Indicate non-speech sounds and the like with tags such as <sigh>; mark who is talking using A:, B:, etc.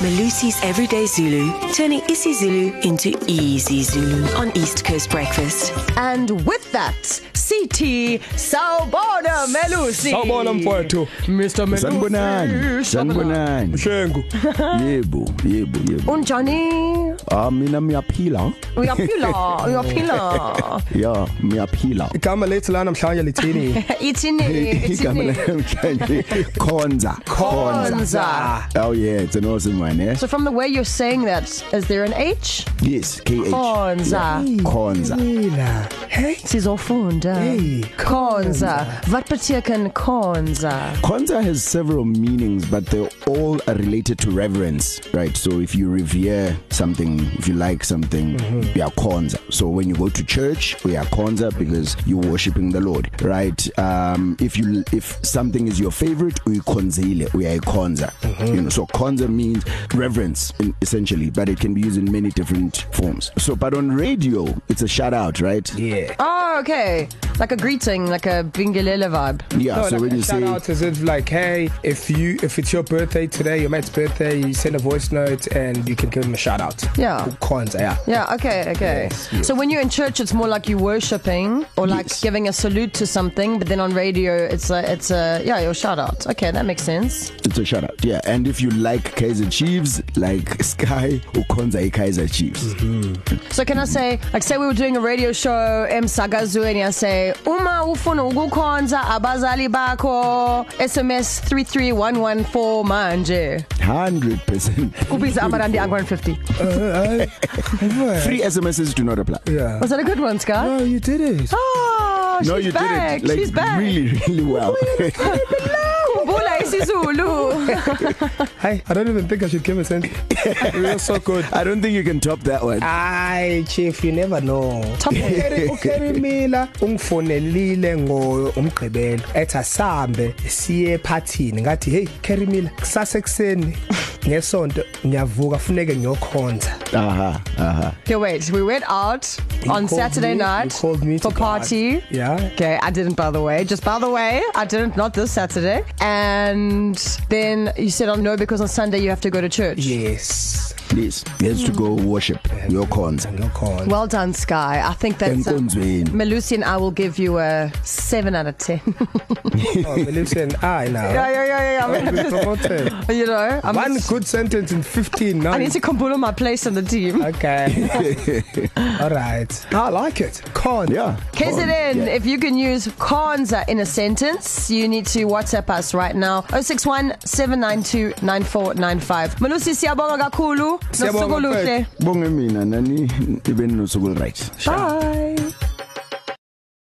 A: Malusi's Everyday Zulu, turning isiZulu into easy Zulu on East Coast Breakfast.
B: And with that, CT Sawbona Melusi.
C: Sawubona mfowethu.
B: Mr Melusi.
D: Sanibonani. Sanibonani.
C: Shengu.
D: Yebo, yebo, yebo.
B: Unjani?
D: Ah mina miyaphila.
B: Uyaphila,
D: <laughs>
B: uyaphila.
D: Yeah, miyaphila.
C: Igama lethu la namhlanje <laughs> lithini?
B: Ithini?
D: <laughs>
B: Ithini?
D: Igama lamhlanje Khonza.
B: Khonza.
D: Oh yeah, it's an awesome one, eh?
B: So from the way you're saying that, is there an H?
D: Yes, KH.
B: Khonza.
D: Yeah, Khonza.
C: Ila. Hey.
B: Sizofunda.
C: Hey,
B: Khonza. uh, Wat beteken khonza?
D: Khonza has several meanings, but they all are related to reverence, right? So if you revere something, if you like something, mm-hmm. you are Khonza. So when you go to church, we are Khonza because you're worshiping the Lord, right? Um, if you if something is your favorite, we Khonzile, we are Khonza. Mm-hmm. You know, so Khonza means reverence in, essentially, but it can be used in many different forms. So, but on radio, it's a shout out, right?
C: Yeah.
B: Oh, okay. Like a greeting, like a bingelele vibe.
D: Yeah.
C: No,
D: so
C: like
D: when
C: a
D: you
C: shout
D: say
C: out as if like, hey, if you if it's your birthday today, your mate's birthday, you send a voice note and you can give him a shout out.
B: Yeah.
C: Kwanzaa. Yeah.
B: Yeah, okay, okay. Yes,
C: Yes,
B: yes.
C: yes.
B: So when you're in church it's more like you worshipping or like yes.
D: Yes.
B: giving a salute to something, but then on radio it's a it's a yeah, your shout out. Okay, that makes sense.
D: It's a shout out. Yeah. And if you like Kaiser Chiefs, like <laughs> Sky, ukhonza iKaiser Chiefs. Mm-hmm.
B: So can I say like say we were doing a radio show emsakazweni I say uma ufuna ukukhonza abazali bakho SMS 33114 manje.
D: 100%.
B: Kubiza amarandi a150.
C: Oh,
D: Free SMSs do not apply.
C: Yeah.
B: Was that a good one, Scar?
C: Oh, you did it.
B: Oh, she's
D: No, you
B: back.
D: did it. Like,
B: she's back. Oh
D: Really, really well.
B: Kumbula isiZulu.
C: Hey, I don't even think I should give a cent. You're so good.
D: <laughs> I don't think you can top that one.
B: Ah.
C: Ay chief you never know. <laughs>
B: Top it.
C: Ukerimila ungifonelile ngo umgqibelo ethi asambe siye ephathini ngathi hey Kerimila kusase ekseni ngesonto ngiyavuka funeke ngiyokhonza.
D: Aha, aha.
B: Okay, wait. We went out
C: You
B: on
C: called
B: Saturday
C: me-
B: night
C: you called me to
B: for
C: go out.
B: party.
C: Yeah.
B: Okay, I didn't by the way. Just by the way, I didn't not this Saturday. And then you said, "Oh no, because on Sunday you have to go to church."
C: Yes.
D: Please, yes to go worship your khonza.
C: Ngiyokhonza.
B: Well done, Sky. I think that's a,
D: Enkonzweni.
B: Malusi and I will give you a seven out of ten. <laughs>
C: Oh, listen, I
B: yeah,
C: now.
B: yeah, yeah, yeah. I mean,
C: Promoted.
B: <laughs> you know, I'm
C: One good sentence in 15 now.
B: I need to compile my place on the team.
C: Okay.
B: <laughs>
C: All right. I like it. Con.
D: Yeah.
B: KZN,
D: Khonza,
B: yeah.
D: yeah.
B: if you can use Kwanzaa in a sentence, you need to WhatsApp us right now. 061 792 9495. Malusi, siyabonga kakhulu.
C: Siyabonga,
B: Nosuku oluhle.
D: Bonge mina nani ibeni nosuku right.
B: Bye.